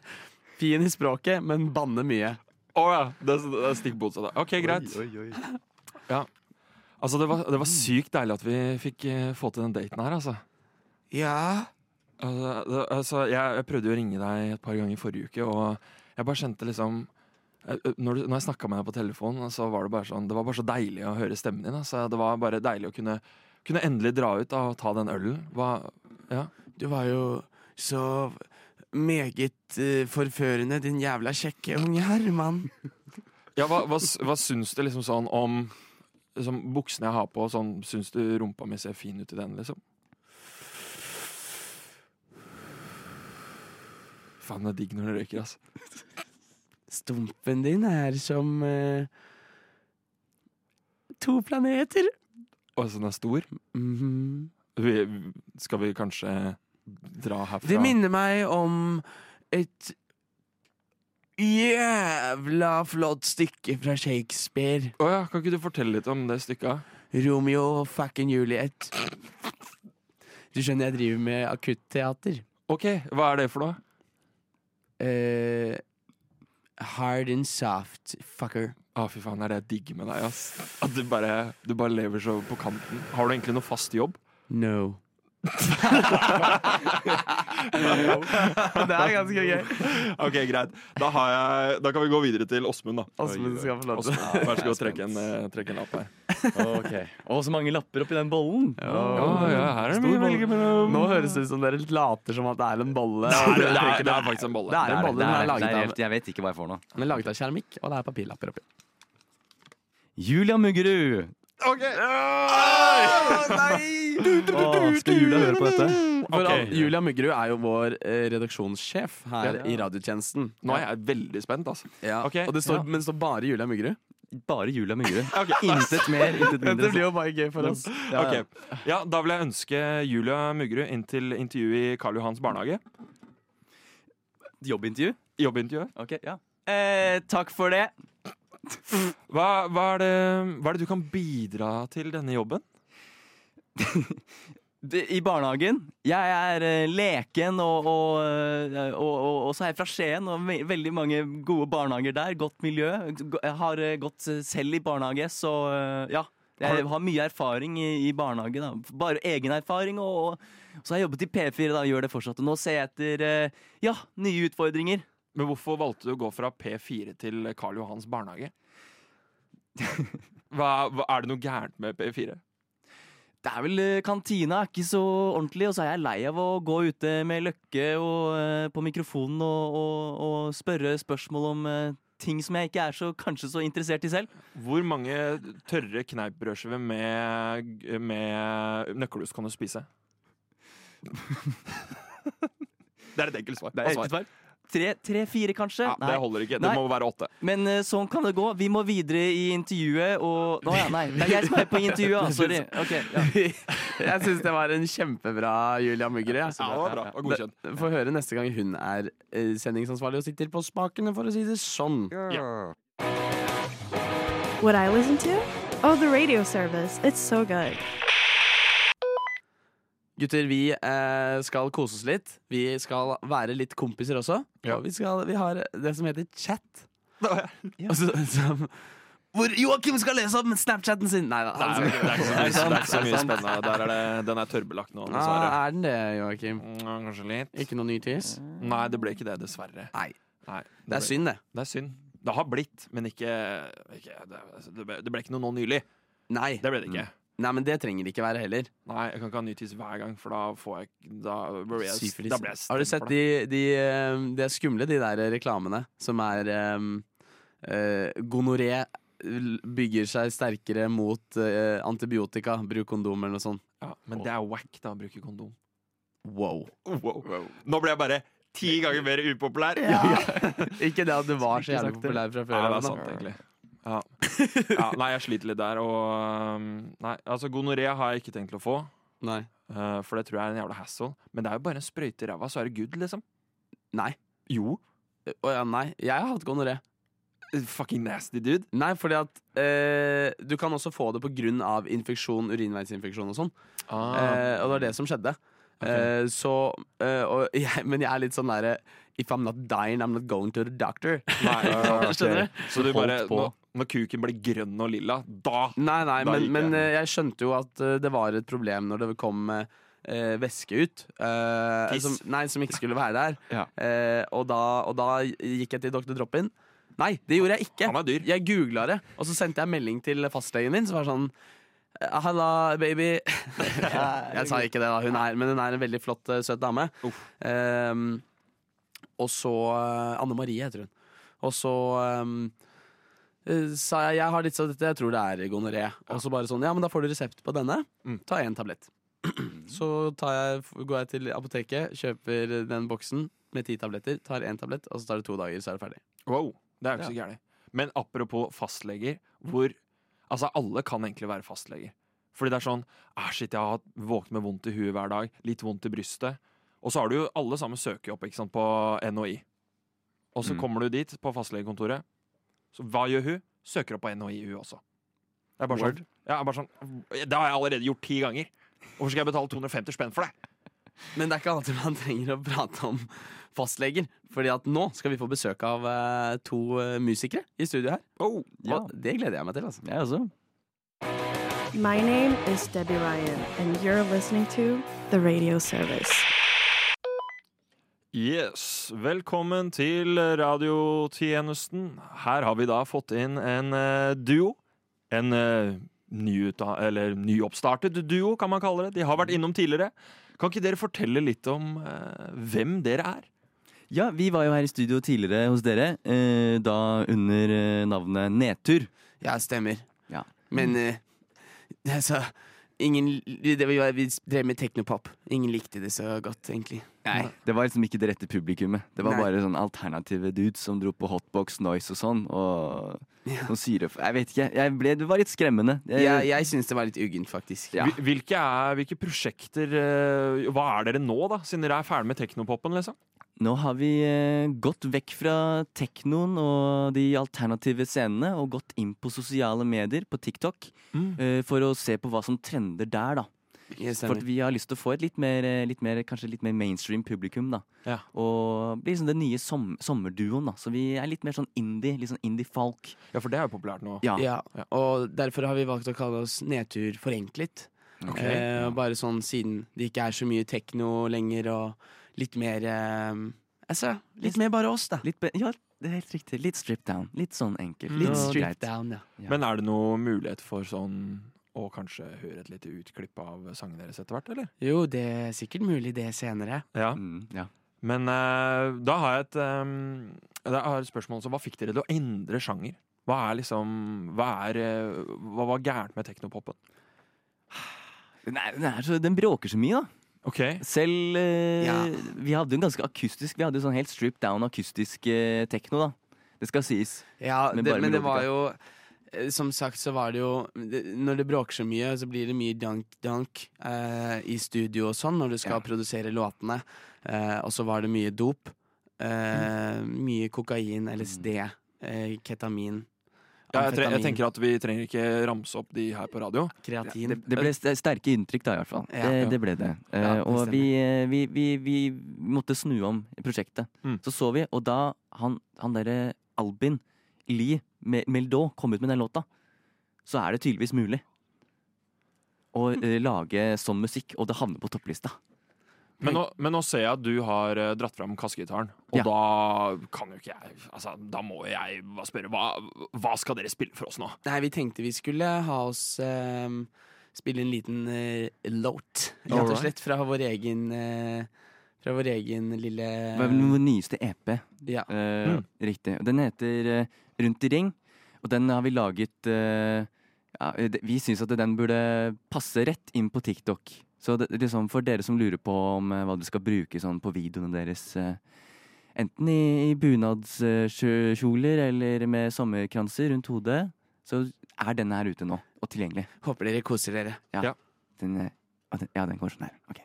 Speaker 5: Fin i språket, men banner mye.
Speaker 6: Å ja. Det er, det er stikk motsatt. OK, greit. Altså, det var, det var sykt deilig at vi fikk eh, få til den daten her, altså.
Speaker 8: Ja.
Speaker 6: Altså, det, altså jeg, jeg prøvde jo å ringe deg et par ganger i forrige uke, og jeg bare kjente liksom eh, når, du, når jeg snakka med deg på telefonen, så var det bare sånn Det var bare så deilig å høre stemmen din. Altså. Det var bare deilig å kunne, kunne endelig dra ut da, og ta den ølen. Hva,
Speaker 5: Du var jo så meget eh, forførende, din jævla kjekke unge herremann.
Speaker 6: ja, hva, hva, s- hva syns du liksom sånn om liksom, buksene jeg har på? Sånn, syns du rumpa mi ser fin ut i den, liksom? Faen, det er digg når du røyker, altså.
Speaker 5: Stumpen din er som eh, to planeter.
Speaker 6: Og så den er stor.
Speaker 5: Mhm.
Speaker 6: Vi, skal vi kanskje dra herfra?
Speaker 5: Det minner meg om et jævla flott stykke fra Shakespeare.
Speaker 6: Å ja, kan ikke du fortelle litt om det stykket?
Speaker 5: Romeo og fucking Juliet. Du skjønner, jeg driver med akutteater.
Speaker 6: Ok, hva er det for noe?
Speaker 5: Eh, hard and soft, fucker.
Speaker 6: Å, fy faen, det er det jeg digger med deg, ass. At du bare, du bare lever så på kanten. Har du egentlig noe fast jobb?
Speaker 5: No. det er ganske gøy.
Speaker 6: Ok, greit. Da, har jeg, da kan vi gå videre til Åsmund, da.
Speaker 5: Asmund skal få lov til
Speaker 6: Åsmund, Vær så god, trekk en, eh, trekk en lapp her.
Speaker 3: Å, så mange lapper oppi den bollen.
Speaker 6: Ja, ja, her er det mye å velge
Speaker 5: Nå høres det ut som dere later som at det er en balle.
Speaker 6: Det er, det er, det er faktisk en
Speaker 5: Det
Speaker 6: bolle.
Speaker 5: er en
Speaker 3: det
Speaker 5: balle,
Speaker 3: er, det er,
Speaker 5: den er laget av
Speaker 3: helt- jeg vet ikke hva jeg får nå.
Speaker 5: Den er laget av keramikk, og det er papirlapper oppi.
Speaker 3: Julia Muggerud.
Speaker 6: Ok!
Speaker 3: Å, skal Julia høre på dette?
Speaker 5: For
Speaker 6: Ok.
Speaker 5: at Julia Myggerud er jo vår eh, redaksjonssjef her i radiotjenesten.
Speaker 6: Nå er jeg veldig spent, altså. Ok,
Speaker 5: Og det står,
Speaker 6: ja.
Speaker 5: Men det står bare Julia Myggerud.
Speaker 3: Bare Julia Muggerud.
Speaker 6: Ok.
Speaker 3: Intet mer, intet
Speaker 5: Dette
Speaker 3: mindre.
Speaker 5: blir jo bare gøy for oss.
Speaker 3: Ja, ja.
Speaker 6: Ok. Ja, da vil jeg ønske Julia Muggerud inn til intervjuet i Karl Johans barnehage.
Speaker 3: Jobbintervju?
Speaker 6: Jobbintervjuet.
Speaker 3: Ok, ja. Eh, takk for det.
Speaker 6: Hva, hva, er det, hva er det du kan bidra til denne jobben?
Speaker 3: Det- I barnehagen. Jeg er eh, leken, og, og, eh, og, og, og så er jeg fra Skien. Og ve veldig mange gode barnehager der. Godt miljø. Go- Jeg har eh, gått eh, selv i barnehage, så eh, ja. Jeg har mye erfaring i, i barnehage. Da. Bare egen erfaring. Og, og så har jeg jobbet i P4 da, og gjør det fortsatt. Og nå ser jeg etter eh, ja, nye utfordringer.
Speaker 6: Men hvorfor valgte du å gå fra P4 til Karl Johans *laughs* barnehage? Hva, hva, er det noe gærent med P4?
Speaker 3: Det er vel eh, Kantina er ikke så ordentlig, og så er jeg lei av å gå ute med løkke og, eh, på mikrofonen og, og, og spørre spørsmål om eh, ting som jeg ikke er så, kanskje så interessert i selv.
Speaker 6: Hvor mange tørre kneippbrødskiver med, med nøkkelhus kan du spise? Det er et enkelt svar. Og svar.
Speaker 3: Tre- Tre-fire, kanskje?
Speaker 6: Ja, det holder ikke. Det
Speaker 3: Nei.
Speaker 6: må være åtte.
Speaker 3: Men eh, sånn kan det gå. Vi må videre i intervjuet og Å ja, nei. Det er jeg som er på intervjuet, ah, sorry. Ok, ja.
Speaker 5: Jeg syns det var en kjempebra Julia Myggerud.
Speaker 6: Ja, det var bra. Det var godkjent.
Speaker 5: Få høre neste gang hun er eh, sendingsansvarlig og sitter på spakene, for å si det sånn.
Speaker 10: What I listen to? Oh, the radio service. It's so good.
Speaker 5: Gutter, vi eh, skal kose oss litt. Vi skal være litt kompiser også.
Speaker 6: Ja.
Speaker 5: Og vi, skal, vi har det som heter chat. Og så, som, hvor Joakim skal lese om Snapchatten sin! Nei da.
Speaker 6: Nei, det er ikke så mye- det er ikke så mye spennende. Der er det, den er tørbelagt nå, dessverre.
Speaker 5: Ah, er den det, Joakim?
Speaker 6: Mm, Kanskje litt.
Speaker 5: Ikke noe ny tiss?
Speaker 6: Nei, det ble ikke det, dessverre.
Speaker 5: Nei.
Speaker 6: Nei,
Speaker 5: Det
Speaker 6: ble-
Speaker 5: er synd, det.
Speaker 6: Det er synd. Det har blitt, men ikke, ikke det, altså, det, ble, det ble ikke noe nå nylig.
Speaker 5: Nei.
Speaker 6: Det ble det ikke.
Speaker 5: Nei, men det trenger det ikke være heller.
Speaker 6: Nei, jeg kan ikke ha ny tiss hver gang, for da får jeg Da, blir jeg,
Speaker 5: Syfilis.
Speaker 6: da blir jeg
Speaker 5: Har du sett de, de, eh, de er skumle, de der reklamene som er eh, eh, Gonoré bygger seg sterkere mot eh, antibiotika. Bruk kondom eller noe sånt.
Speaker 6: Ja, men det er wack, da, å bruke kondom.
Speaker 5: Wow.
Speaker 6: Nå ble jeg bare ti ganger mer upopulær! Ja,
Speaker 5: Ikke det at du var så jævlig populær fra før.
Speaker 6: det
Speaker 5: Anna.
Speaker 6: er sant, egentlig. Ja. ja. Nei, jeg sliter litt der, og um, Nei, altså, gonoré har jeg ikke tenkt til å få.
Speaker 5: Nei.
Speaker 6: eh, for det tror jeg er en jævla hassle. Men det er jo bare en sprøyte i ræva, så er det good, liksom.
Speaker 5: Nei.
Speaker 6: Jo.
Speaker 5: Eh, Å ja, nei. Jeg har hatt gonoré.
Speaker 6: Fucking nasty, dude.
Speaker 5: Nei, fordi at eh, du kan også få det på grunn av infeksjon, urinveisinfeksjon og sånn.
Speaker 6: Ah.
Speaker 5: Eh, og det var det som skjedde.
Speaker 6: Ok.
Speaker 5: Eh, så, eh, og *laughs* jeg, men jeg er litt sånn derre If I'm not dying, I'm not going to the doctor.
Speaker 6: *laughs* Nei,
Speaker 5: Skjønner du?
Speaker 6: Så du
Speaker 3: Holdt
Speaker 6: bare,
Speaker 3: på.
Speaker 6: når, når kuken blir grønn og lilla, da
Speaker 5: Nei, nei,
Speaker 6: *laughs* Da
Speaker 5: men,
Speaker 6: gikk
Speaker 5: men
Speaker 6: jeg.
Speaker 5: eh, jeg skjønte jo at eh, det var et problem når det kom eh, eh, væske ut. eh,
Speaker 6: Tiss.
Speaker 5: som, nei, som ikke skulle være der.
Speaker 3: Ja.
Speaker 5: Eh, og, da, og da gikk jeg til Dr. Drop-In. Nei, det gjorde jeg ikke.
Speaker 6: Han er dyr.
Speaker 5: Jeg googla det, og så sendte jeg melding til fastlegen min, som var sånn eh, Halla, baby. *laughs* jeg sa ikke det, da. Hun er, men hun er en veldig flott, eh, søt dame. Ehm, og så eh, Anne Marie heter hun. Og så ehm, eh, sa jeg jeg har litt sånn dette, jeg tror det er gonoré. Og så bare sånn, ja, men da får du resept på denne.
Speaker 6: Mm.
Speaker 5: Ta én tablett. *clears throat* Så tar jeg, går jeg til apoteket, kjøper den boksen med ti tabletter, tar én tablett, og så tar det to dager, så er det ferdig.
Speaker 6: Wow, det er jo ikke så gærent. Men apropos fastleger, hvor Altså, alle kan egentlig være fastleger. Fordi det er sånn ah, Shit, jeg har hatt- våknet med vondt i huet hver dag. Litt vondt i brystet. Og så har du jo alle sammen søker jo opp ikke sant, på NHI. Og så
Speaker 3: Mm.
Speaker 6: kommer du dit, på fastlegekontoret. Så hva gjør hun? Søker opp på NHI, hun også. Det er bare sånn, ja, det er bare sånn Det har jeg allerede gjort ti ganger. Hvorfor skal jeg betale 250 spenn for det?
Speaker 5: Men det er ikke alltid man trenger å prate om fastleger. Fordi at nå skal vi få besøk av eh, to eh, musikere i studio her. Og det gleder jeg meg til. altså
Speaker 10: My name is Debbie Ryan, and you're listening to the radio service.
Speaker 6: Yes, velkommen til radiotjenesten. Her har vi da fått inn en eh, duo. En eh, nyuta- eller nyoppstartet duo, kan man kalle det. De har vært innom tidligere. Kan ikke dere fortelle litt om eh, hvem dere er?
Speaker 3: *laughs* Ja, vi var jo her i studio tidligere hos dere, eh, da under eh, navnet Nedtur.
Speaker 5: Ja, stemmer.
Speaker 3: Ja.
Speaker 5: Men eh, altså ingen, det vi, vi drev med teknopop. Ingen likte det så godt, egentlig.
Speaker 3: Nei. Det var liksom ikke det rette publikummet. Det var
Speaker 5: Nei.
Speaker 3: bare sånn alternative dudes som dro på hotbox noise og sånn. Og sånn syre... Jeg vet ikke. Jeg ble, det var litt skremmende.
Speaker 5: Jeg, jeg syns det var litt uggent, faktisk.
Speaker 6: Hvil- Hvilke, er, hvilke prosjekter eh, Hva er dere nå, da? Siden dere er ferdig med teknopopen, liksom?
Speaker 3: Nå har vi eh, gått vekk fra teknoen og de alternative scenene og gått inn på sosiale medier, på TikTok,
Speaker 6: Mm.
Speaker 3: eh, for å se på hva som trender der, da. For
Speaker 5: stemmer.
Speaker 3: at vi har lyst til å få et litt mer, eh, litt mer, kanskje litt mer mainstream publikum, da.
Speaker 6: Ja.
Speaker 3: Og bli liksom den nye som sommerduoen, da. Så vi er litt mer sånn indie, litt sånn indie-folk.
Speaker 6: Ja, for det er jo populært nå.
Speaker 3: Ja.
Speaker 5: Ja, og derfor har vi valgt å kalle oss Nedtur forenklet.
Speaker 3: Ok.
Speaker 5: Eh, bare sånn siden det ikke er så mye tekno lenger, og litt mer eh, Altså, litt mer bare oss, da.
Speaker 3: Litt be ja, det er helt riktig. Litt strip down. Litt sånn enkelt.
Speaker 5: Litt
Speaker 3: og greit.
Speaker 5: stripped down, ja.
Speaker 6: Men er det noe mulighet for sånn å kanskje høre et lite utklipp av sangen deres etter hvert, eller?
Speaker 5: Jo, det er sikkert mulig det senere.
Speaker 6: Ja.
Speaker 3: Mm, ja.
Speaker 6: Men eh, da har jeg et, eh, da har jeg et spørsmål også. Hva fikk dere til å endre sjanger? Hva er liksom Hva, er, eh, hva var gærent med teknopopen?
Speaker 3: Den, er, den, er så, altså, den bråker så mye, da. Selv eh, Vi hadde jo en ganske akustisk Vi hadde jo sånn helt strip down akustisk eh, tekno, da. Det skal sies.
Speaker 5: Ja,
Speaker 3: Men
Speaker 5: det,
Speaker 3: bare
Speaker 5: men det var
Speaker 3: melodika.
Speaker 5: jo eh, Som sagt så var det jo det, Når det bråker så mye, så blir det mye dank-dank eh, i studio og sånn når du skal produsere låtene. Eh, og så var det mye dop. Eh,
Speaker 6: Mm.
Speaker 5: mye kokain, LSD, eh, ketamin.
Speaker 6: Ja, jeg, tre jeg
Speaker 5: amfetamin.
Speaker 6: tenker at vi trenger ikke ramse opp de her på radio.
Speaker 5: Kreatin.
Speaker 3: Det, det ble st- sterke inntrykk, da, i hvert fall.
Speaker 6: Ja.
Speaker 3: det,
Speaker 6: Ja.
Speaker 3: det ble det. Eh,
Speaker 6: Ja, det
Speaker 3: og vi, eh, vi, vi, vi måtte snu om prosjektet.
Speaker 6: Mm.
Speaker 3: Så så vi, og da han, han derre Albin Lie Me- Meldau kom ut med den låta, så er det tydeligvis mulig å eh, lage sånn musikk, og det havner på topplista.
Speaker 6: Men nå, men nå ser jeg at du har eh, dratt fram kassegitaren, og da kan jo ikke jeg Altså, da må jeg bare spørre hva, hva skal dere spille for oss nå?
Speaker 5: Nei, vi tenkte vi skulle ha oss eh, Spille en liten eh, låt, rett og
Speaker 3: Alright.
Speaker 5: slett, fra vår egen eh, Fra vår egen lille
Speaker 3: Det
Speaker 6: Eh.
Speaker 3: var vel vår nyeste E EP.
Speaker 5: Ja.
Speaker 3: Eh,
Speaker 5: Mm.
Speaker 3: Riktig. Den heter eh, Rundt i ring, og den har vi laget eh, ja, det- Vi syns at den burde passe rett inn på TikTok. Så det, liksom for dere som lurer på om eh, hva dere skal bruke sånn på videoene deres eh, Enten i, i bunadskjoler eller med sommerkranser rundt hodet, så er den her ute nå og tilgjengelig.
Speaker 5: Håper dere koser dere.
Speaker 3: Ja, den, eh, ja, den, ja, den går sånn her. Ok.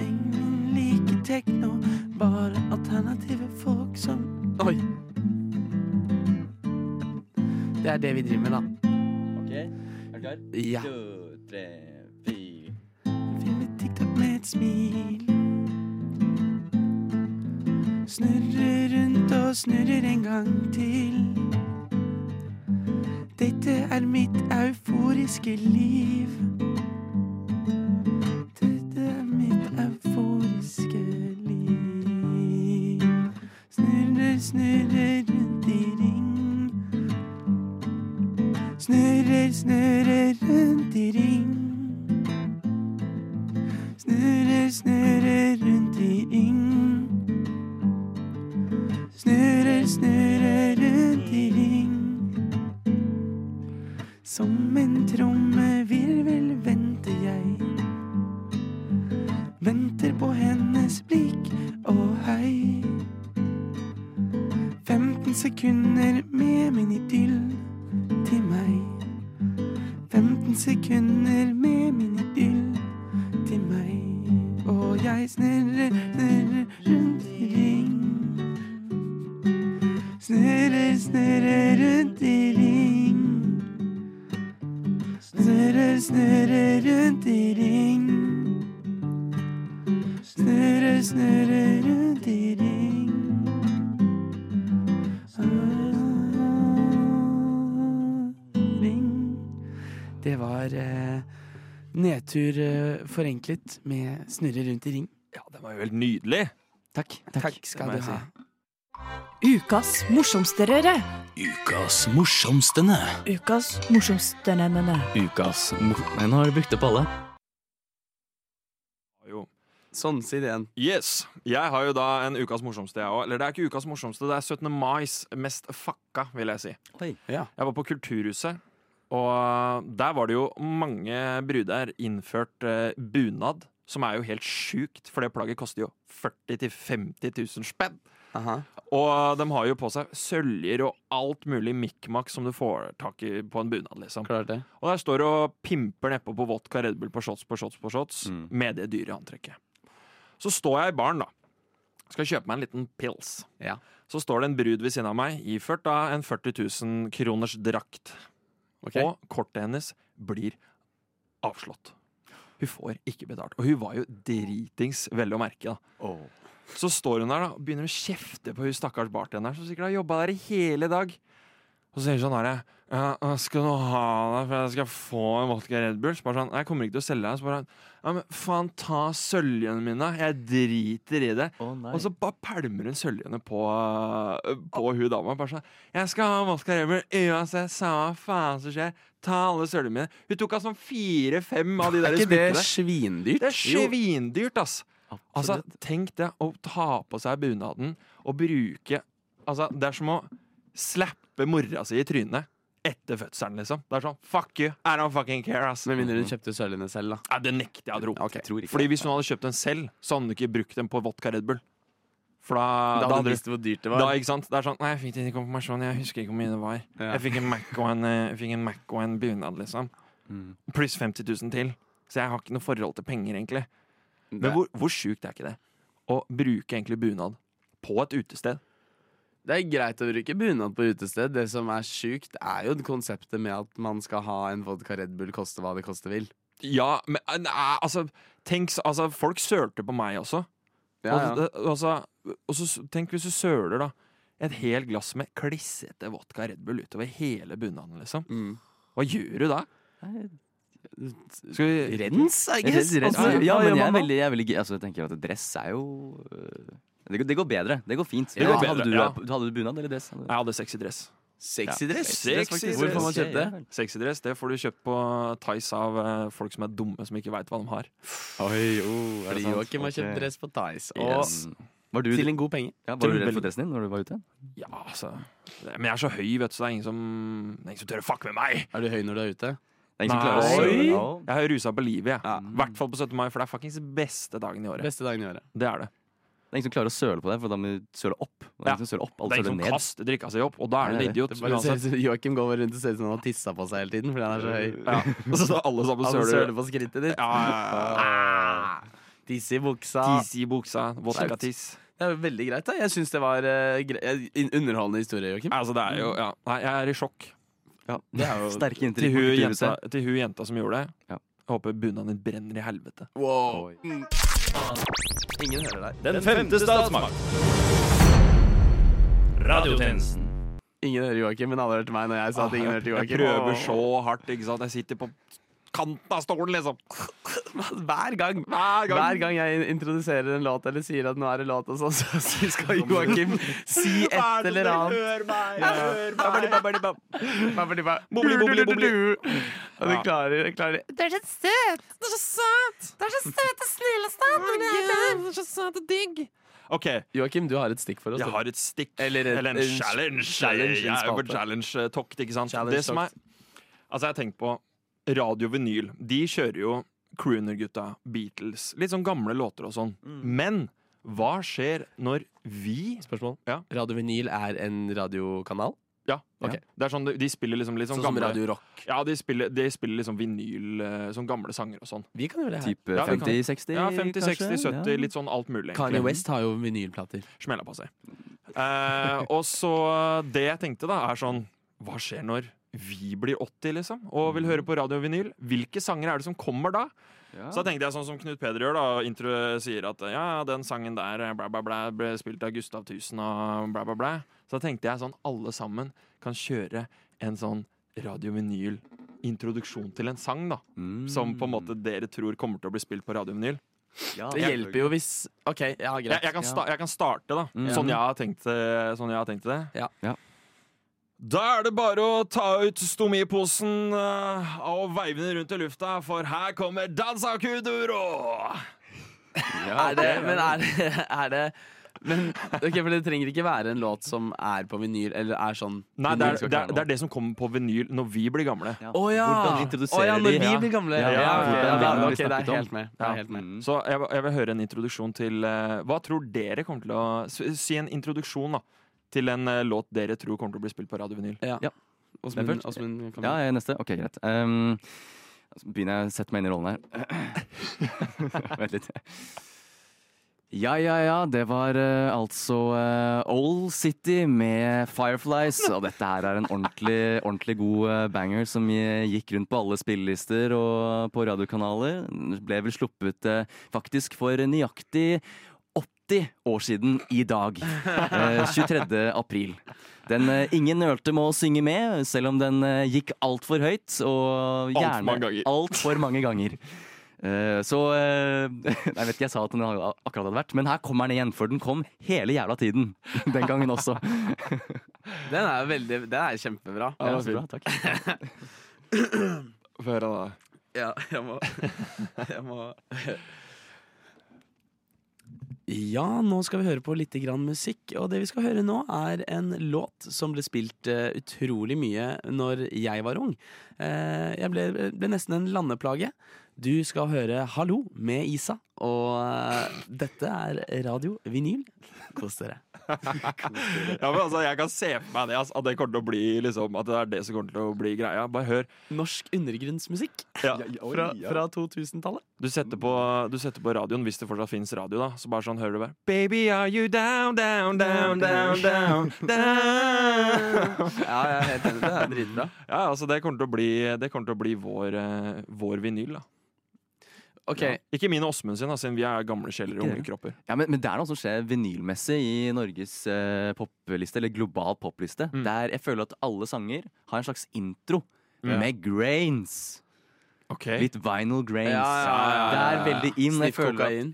Speaker 4: Ingen liker tekno, bare alternative folk som
Speaker 5: Oi. Det er det vi driver med, da.
Speaker 3: Ok, er du klar?
Speaker 5: Ja.
Speaker 3: To, tre, fire.
Speaker 4: Filmer TikTok med et smil. Snurrer rundt og snurrer en gang til. Dette er mitt euforiske liv. Dette er mitt euforiske liv. Snurrer, snurrer rundt i ring. Snurrer, snurrer rundt i ring. Snurrer, snurrer rundt i ring. Snurrer, snurrer rundt i ring. Som en trommevirvel venter jeg. Venter på hennes blikk og hei. 15 sekunder med min idyll til meg. 15 sekunder med min idyll til Ah, eh,
Speaker 5: Nedtur eh, forenklet med snurre rundt i ring.
Speaker 6: Ja, den var jo helt nydelig.
Speaker 5: Takk. Takk, skal
Speaker 6: må
Speaker 5: du
Speaker 6: jeg
Speaker 5: ha.
Speaker 1: Ukas morsomsterere.
Speaker 3: Ukas morsomstene.
Speaker 1: Ukas morsomsterere.
Speaker 3: Ukas mor... Nei, nå har du brukt opp alle.
Speaker 5: Sånn, si det igjen.
Speaker 6: Yes. Jeg har jo da en ukas morsomste, jeg òg. Eller det er ikke ukas morsomste, det er 17. mais. Mest fucka, vil jeg si.
Speaker 5: Ja.
Speaker 6: Jeg var på Kulturhuset, og eh, der var det jo mange bruder innført eh, bunad. Som er jo helt sjukt, for det plagget koster jo 40 000-50 000 spenn. Og de har jo på seg søljer og alt mulig mikk-makk som du får tak i på en bunad. liksom Og der står og pimper nedpå på vodka Red Bull på shots på shots på shots med det dyre antrekket. Så står jeg i baren, da. Skal kjøpe meg en liten pils.
Speaker 5: Ja.
Speaker 6: Så står det en brud ved siden av meg, iført da en 40 000 kroners drakt. Og kortet hennes blir avslått. Hun får ikke betalt. Og hun var jo dritings, vel å merke. da. Så står hun der da, og begynner å kjefte på hun stakkars bartenderen som sikkert har jobba der i hele dag. Og så sier hun sånn herre «Ja, hva Skal du ha deg for jeg skal få en vodka Red Bull? Så bare sånn, jeg kommer ikke til å selge deg. Så bare han, ja, men faen, ta søljene mine. Jeg driter i det. og så bare pælmer hun søljene på, eh, på hun dama. Bare sånn, jeg skal ha en vodka Red Bull uansett, samme faen som skjer. Ta alle søljene mine. Hun tok altså fire-fem av de der
Speaker 5: er ikke det
Speaker 6: smykkene.
Speaker 5: svindyrt?
Speaker 6: Det er svindyrt, ass. Altså, tenk det å ta på seg bunaden og bruke Altså, det er som å slappe mora si i trynet etter fødselen, liksom. Det er sånn fuck you, I don't fucking care, ass.
Speaker 5: Med mindre hun kjøpte sølvene selv, da.
Speaker 6: Nei, det nekter jeg å tro.
Speaker 5: tror ikke
Speaker 6: Fordi hvis hun hadde kjøpt den selv, så hadde hun ikke brukt den på vodka Red Bull. For da,
Speaker 5: Da hadde du visst hvor dyrt det var.
Speaker 6: Da, ikke sant? Det er sånn Nei, jeg fikk det i konfirmasjon, jeg husker ikke hvor mye det var.
Speaker 5: Ja.
Speaker 6: Jeg fikk en Mac og en, eh, jeg fikk en, Mac og en bunad, liksom.
Speaker 5: Mm.
Speaker 6: Pluss 50 000 til. Så jeg har ikke noe forhold til penger, egentlig. Men hvor, hvor sjukt er ikke det? Å bruke egentlig bunad på et utested.
Speaker 5: Det er greit å bruke bunad på utested. Det som er sjukt, er jo konseptet med at man skal ha en vodka Red Bull koste hva det koste vil.
Speaker 6: Ja, men eh, nei, altså, tenk, s- altså Folk sølte på meg også.
Speaker 5: Ja,
Speaker 6: Og,
Speaker 5: ja.
Speaker 6: det- altså, og så s- tenk hvis du søler, da. Et helt glass med klissete vodka Red Bull utover hele bunaden, liksom.
Speaker 5: Mm.
Speaker 6: Hva gjør du da? Skal vi
Speaker 5: Rens, I
Speaker 3: Jeg
Speaker 5: guess.
Speaker 3: synes rett-
Speaker 5: Altså,
Speaker 3: ja, ja,
Speaker 5: hva
Speaker 3: men
Speaker 5: mener
Speaker 3: jeg,
Speaker 5: jeg
Speaker 3: er
Speaker 5: da?
Speaker 3: veldig, jeg, er veldig, gøy. altså, jeg tenker at dress er jo øh, det går, det går bedre. Det går fint.
Speaker 6: Det går bedre,
Speaker 3: hadde, du,
Speaker 6: ja.
Speaker 3: hadde du bunad eller dress? Hadde du-
Speaker 6: Jeg hadde sexy dress.
Speaker 5: Sexy dress.
Speaker 6: Sexy
Speaker 5: Dress, faktisk.
Speaker 6: dress.
Speaker 5: Hvor får man kjøpt det?
Speaker 6: Sexy dress det får du kjøpt på Tice av eh, folk som er dumme, som ikke veit hva de har.
Speaker 5: oh, Fordi Joakim har kjøpt dress på Tice. Og
Speaker 6: Yes.
Speaker 3: Var du,
Speaker 5: til en god penge.
Speaker 3: ja, var du redd for dressen din når du var ute?
Speaker 6: Ja, altså Men jeg er så høy, vet du, så det er ingen som, det er ingen som tør å fucke med meg!
Speaker 5: Er du høy når du er ute?
Speaker 3: Det er ingen som klarer å
Speaker 6: Nei.
Speaker 3: søle. Ja.
Speaker 6: Jeg er rusa på livet, jeg.
Speaker 5: Ja.
Speaker 6: I hvert fall på 17. mai, for det er fuckings beste dagen i året.
Speaker 5: Beste dagen i året.
Speaker 6: Det er det.
Speaker 3: Det er ingen som klarer å søle på deg, for da må du søle opp. Det er ingen som søler opp,
Speaker 6: det
Speaker 3: alle
Speaker 6: er ingen
Speaker 3: søler
Speaker 6: som
Speaker 3: ned.
Speaker 6: kaster drikka seg opp, og da er du
Speaker 3: Nei,
Speaker 6: en
Speaker 3: det
Speaker 6: idiot.
Speaker 5: Det bare ser ut
Speaker 6: uansett.
Speaker 5: som Joakim går rundt og ser ut som han har tissa på seg hele tiden fordi han er så høy.
Speaker 6: Ja. *laughs* Og Øh, så står alle sammen
Speaker 5: Han
Speaker 6: og søler.
Speaker 5: søler på skrittet ditt.
Speaker 6: Ja, ja, ja.
Speaker 5: Tisse i buksa.
Speaker 6: Tiss i buksa. Vodka-tiss.
Speaker 5: Det er jo veldig greit, da. Jeg syns det var eh, gre- eh, underholdende historie, Joakim.
Speaker 6: Altså, det er jo Ja. Nei, jeg er i sjokk.
Speaker 5: Det er jo
Speaker 3: Sterke
Speaker 6: Til
Speaker 3: inntrykk.
Speaker 6: hun,
Speaker 3: borti
Speaker 6: jenta,
Speaker 3: huset.
Speaker 6: til hun jenta som gjorde det.
Speaker 3: Ja.
Speaker 6: Jeg håper bunaden din brenner i helvete.
Speaker 5: Wow. Ingen hører deg.
Speaker 2: Den femte statsmakt. Radiotjenesten.
Speaker 5: Ingen hører Joakim, men alle hørte meg når jeg sa at ingen hørte
Speaker 6: Ah, Jeg
Speaker 5: Joakim.
Speaker 6: prøver så hardt, ikke sant. Jeg sitter på kanten av stolen, *laughs* liksom.
Speaker 5: Hver gang. Hver gang. jeg introduserer en låt eller sier at nå er det låt, og sånn, *laughs* så så skal Joakim si et eller annet. Hør meg, hør meg. Bobli, bobli, bobli. Og du klarer, jeg klarer Det er så søt! Det er så søt! Det er så søt og snill og søt!
Speaker 6: Så søt og digg. OK,
Speaker 5: Joakim, du har et stikk for oss.
Speaker 6: jeg har et stikk.
Speaker 5: Eller en-
Speaker 6: en,
Speaker 5: en
Speaker 6: challenge.
Speaker 5: challenge,
Speaker 6: Jeg er jo på
Speaker 5: spalte.
Speaker 6: challenge-tokt, ikke sant.
Speaker 5: Challenge
Speaker 6: det som er,
Speaker 5: tokt.
Speaker 6: altså, jeg har tenkt på Radio Vinyl. De kjører jo crooner-gutta, Beatles, litt sånn gamle låter og sånn.
Speaker 5: Mm.
Speaker 6: Men hva skjer når vi
Speaker 5: Spørsmål?
Speaker 6: Ja.
Speaker 5: Radio Vinyl er en radiokanal?
Speaker 6: Ja,
Speaker 5: Ok.
Speaker 6: ja. Det er sånn, de- de spiller liksom litt sånn,
Speaker 5: Sånn som
Speaker 6: gamle
Speaker 5: Radio Rock?
Speaker 6: Ja, de spiller, de spiller liksom vinyl, eh, sånn gamle sanger og sånn.
Speaker 5: Vi kan gjøre det her.
Speaker 3: Type
Speaker 6: Ja, vi kan-
Speaker 3: 50-60,
Speaker 6: Ja, 50, 60, 70,
Speaker 3: Ja.
Speaker 6: litt sånn alt mulig.
Speaker 5: Kanye
Speaker 6: egentlig.
Speaker 5: West har jo vinylplater.
Speaker 6: Smella på seg. Eh, og så det jeg tenkte da, er sånn Hva skjer når vi blir 80, liksom, og vil høre på radio og vinyl? Hvilke sanger er det som kommer da? Så da tenkte jeg sånn som Knut Peder gjør, da. og Intro sier at ja, den sangen der bla, bla, bla, ble spilt av Gustav Tusen og bla, bla, bla. Så da tenkte jeg sånn alle sammen kan kjøre en sånn radiovinyl introduksjon til en sang, da. Som på en
Speaker 5: Mm.
Speaker 6: måte dere tror kommer til å bli spilt på radiovinyl.
Speaker 5: Det hjelper jo hvis OK, ja, greit.
Speaker 6: Jeg, jeg, kan sta jeg kan starte, da.
Speaker 5: Mm.
Speaker 6: Sånn, jeg har tenkt, eh, sånn jeg har tenkt det. Da er det bare å ta ut stomiposen eh, og veive den rundt i lufta, for her kommer Dansa Kuduro!
Speaker 5: er det, men er det, *laughs* er det men, ok, for Det trenger ikke være en låt som er på vinyl, eller er sånn
Speaker 6: Nei, det er, det, er, det er det som kommer på vinyl når vi blir gamle.
Speaker 5: Å ja!
Speaker 6: Hvordan introduserer
Speaker 5: Å ja, når
Speaker 6: de-
Speaker 5: vi
Speaker 6: Ja.
Speaker 5: blir gamle.
Speaker 6: Ja,
Speaker 5: Ja, ok,
Speaker 6: hvordan
Speaker 5: ja,
Speaker 6: vil
Speaker 5: da-
Speaker 6: vi
Speaker 5: ok, det er
Speaker 6: snakket om?
Speaker 5: helt med. Det er
Speaker 6: Ja.
Speaker 5: helt med.
Speaker 6: Mm. Så jeg, jeg vil høre en introduksjon til eh, Hva tror dere kommer til å s- Si en introduksjon, da. Til en eh, låt dere tror kommer til å bli spilt på radiovinyl.
Speaker 3: Ja.
Speaker 6: Åsmund-
Speaker 3: Hvem først?
Speaker 6: Åsmund kan begynne.
Speaker 3: ja, jeg er neste. Ok, greit. Ehm, så begynner jeg å sette meg inn i rollen her. *laughs* Vent litt. Ja, ja, ja. Det var eh, altså eh, Old City med Fireflies. Og dette her er en ordentlig, ordentlig god eh, banger som eh, gikk rundt på alle spillelister og på radiokanaler. Den Ble vel sluppet eh, faktisk for nøyaktig 80 år siden i dag. Eh, 23. april. Den eh, ingen nølte med å synge med, selv om den eh, gikk altfor høyt. Og
Speaker 6: Alt for
Speaker 3: gjerne
Speaker 6: mange ganger.
Speaker 3: altfor mange ganger. Eh, så eh, *laughs* Jeg vet ikke, jeg sa at den hadde- akkurat hadde vært, men her kommer den igjen. For den kom hele jævla tiden. *laughs* Den gangen også.
Speaker 5: Den er veldig Den er kjempebra. Altså,
Speaker 3: Ja, så bra, takk.
Speaker 6: Få høre, da.
Speaker 5: Ja, jeg må *laughs* Jeg må Ja, nå skal vi høre på litt grann musikk, og det vi skal høre nå er en låt som ble spilt eh, utrolig mye når jeg var ung. Eh, jeg ble, ble nesten en landeplage. Du skal høre 'Hallo' med Isa, og eh, dette er radio vinyl. Kos dere.
Speaker 6: ja, men altså, jeg kan se for meg det, altså, at det kommer til å bli liksom, At det er det som kommer til å bli greia. Bare hør.
Speaker 5: Norsk undergrunnsmusikk
Speaker 6: ja.
Speaker 5: fra, fra 2000-tallet.
Speaker 6: Du setter, på, du setter på radioen, hvis det fortsatt fins radio, da. Så bare sånn hører du bare Baby, are you down, down, down, down, down, down?
Speaker 5: ja, jeg er helt enig. Det er dritbra.
Speaker 6: *laughs* Ja, altså, det kommer til å bli, det kommer til å bli vår, eh, vår vinyl, da.
Speaker 5: Ok.
Speaker 6: Ja. Ikke min og Åsmund sin, da, siden vi er gamle sjeler og unge
Speaker 3: Ikke
Speaker 6: kropper.
Speaker 3: Ja, men, men det er noe som skjer vinylmessig i Norges eh, popliste, eller global popliste. Der jeg føler at alle sanger har en slags intro
Speaker 6: Mm.
Speaker 3: med grains. Litt vinyl grains.
Speaker 6: Ja, ja, ja, ja, ja.
Speaker 3: Det er veldig in. Jeg
Speaker 6: Sniff
Speaker 3: føler at-
Speaker 6: kokain.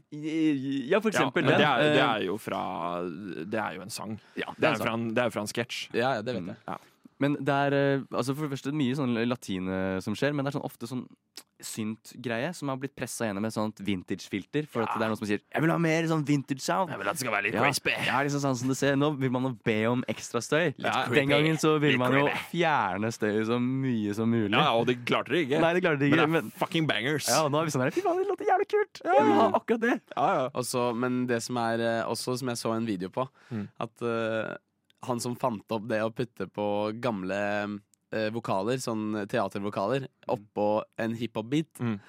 Speaker 3: Ja, for eksempel
Speaker 6: men
Speaker 3: den.
Speaker 6: det, er, det
Speaker 3: Eh,
Speaker 6: er jo fra Det er jo en sang. det,
Speaker 3: det er en
Speaker 6: er fra en, det er jo fra en sketsj.
Speaker 5: Ja, det vet
Speaker 6: jeg. Ja.
Speaker 3: Men det er eh, altså for det første mye sånn latine som skjer, men det er sånn ofte sånn synt-greie som har blitt pressa gjennom et sånt vintage-filter. For at det er noen som sier 'jeg vil ha mer sånn vintage-sound'. Jeg vil at det skal være
Speaker 6: litt crispy.
Speaker 3: Ja, liksom sånn som det ser. Nå vil man jo be om ekstra støy.
Speaker 6: Ja.
Speaker 3: Den gangen så ville
Speaker 6: Litt
Speaker 3: man jo
Speaker 6: creepy.
Speaker 3: fjerne støy så mye som mulig.
Speaker 6: Ja, og det klarte de ikke.
Speaker 3: Nei, det klarte de ikke,
Speaker 6: Men det er
Speaker 3: men-
Speaker 6: fucking bangers.
Speaker 3: Ja, og nå er vi sånn her Fy faen, det låter jævlig kult! Ja, vi har akkurat det.
Speaker 5: Og så- men det som er eh, også, som jeg så en video på,
Speaker 6: Mm.
Speaker 5: at eh, han som fant opp det å putte på gamle eh, vokaler, sånn teatervokaler, oppå en hiphop-beat
Speaker 6: Mm.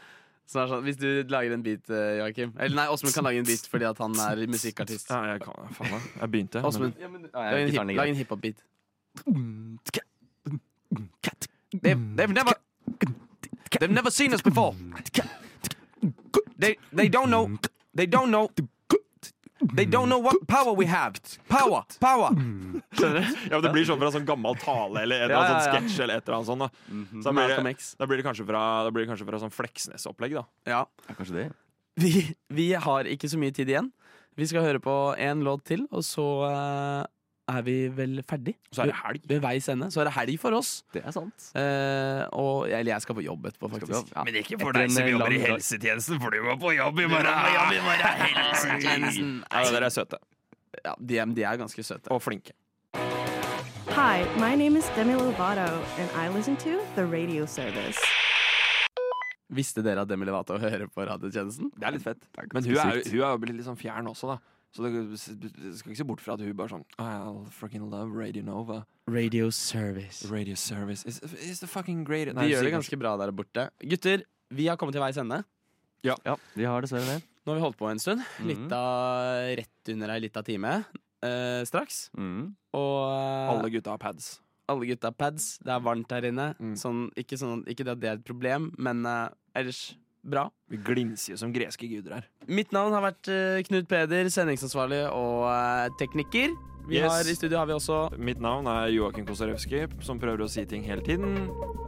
Speaker 5: Så det er sånn, Hvis du lager en beat, eh, Joakim Eller nei, Åsmund kan lage en beat fordi at han er musikkartist.
Speaker 6: Ja, jeg kan faen meg. Jeg begynte.
Speaker 5: Åsmund,
Speaker 6: men-
Speaker 5: lag en hip- lag en hiphop-beat. They've, they've never They've never seen us before. They they don't know they don't know they don't know what power we have. Power, power.
Speaker 6: Skjønner du? Ja, men Det blir sånn fra sånn gammel tale eller et eller annet
Speaker 5: Ja, ja, ja.
Speaker 6: sånn sketsj eller et eller annet sånt. Da. Så da blir, det, da blir det kanskje fra, da blir det kanskje fra sånn Fleksnes-opplegg, da.
Speaker 5: Ja.
Speaker 3: Kanskje det.
Speaker 5: Vi, vi har ikke så mye tid igjen. Vi skal høre på en låt til, og så eh, er vi vel ferdig.
Speaker 6: Så er det helg.
Speaker 5: Ved veis ende. Så er det helg for oss.
Speaker 3: Det er sant.
Speaker 5: Eh, og, eller jeg skal på jobb etterpå,
Speaker 3: skal på
Speaker 5: faktisk.
Speaker 3: jobb, ja. eh, Men ikke for
Speaker 5: Etter
Speaker 3: deg som
Speaker 5: en
Speaker 3: jobber
Speaker 5: lang
Speaker 3: i
Speaker 5: dag.
Speaker 6: helsetjenesten, for du må på jobb i
Speaker 5: morgen.
Speaker 6: Helsetjenesten. Ja, dere er søte.
Speaker 5: Ja, de, er- de er ganske søte.
Speaker 6: Og flinke.
Speaker 10: Hi, my name is Demi Lovato, and I listen to the radio service.
Speaker 5: Visste dere at Demi Levato hører på radiotjenesten?
Speaker 6: Det er litt fett. Men hun er, jo- hun er jo blitt litt sånn fjern også, da. Så det du skal ikke se bort fra at hun bare sånn I freaking love Radio Nova.
Speaker 5: Radio Service.
Speaker 6: Radio Service is, is the fucking great
Speaker 5: De gjør det ganske bra der borte. Gutter, vi har kommet til veis ende.
Speaker 6: Ja.
Speaker 3: vi har dessverre det.
Speaker 5: Nå har vi holdt på en stund.
Speaker 3: Mhm.
Speaker 5: Litt av, rett under ei lita time eh, straks.
Speaker 3: Mm.
Speaker 5: Og eh,
Speaker 6: Alle gutta har pads.
Speaker 5: alle gutta har pads. Det er varmt her inne.
Speaker 6: Mm.
Speaker 5: Sånn, ikke, sånn, ikke det at det er et problem, men eh, ellers bra.
Speaker 6: Vi glinser jo som greske guder her.
Speaker 5: Mitt navn har vært eh, Knut Peder, sendingsansvarlig og eh, tekniker. Vi har, I studio har vi også
Speaker 6: Mitt navn er Joakim Kosarewski, som prøver å si ting hele tiden.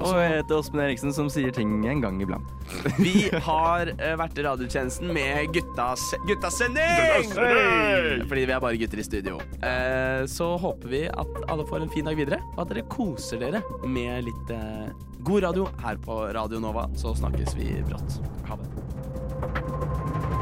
Speaker 3: Og jeg heter Åsmund Eriksen, som sier ting en gang iblant.
Speaker 5: Vi har eh, vært i radiotjenesten med guttas, guttasending!
Speaker 3: Guttasending!
Speaker 5: Fordi vi er bare gutter i studio. Eh, så håper vi at alle får en fin dag videre, og at dere koser dere med litt eh, god radio her på Radio Nova. Så snakkes vi brått. Ha det.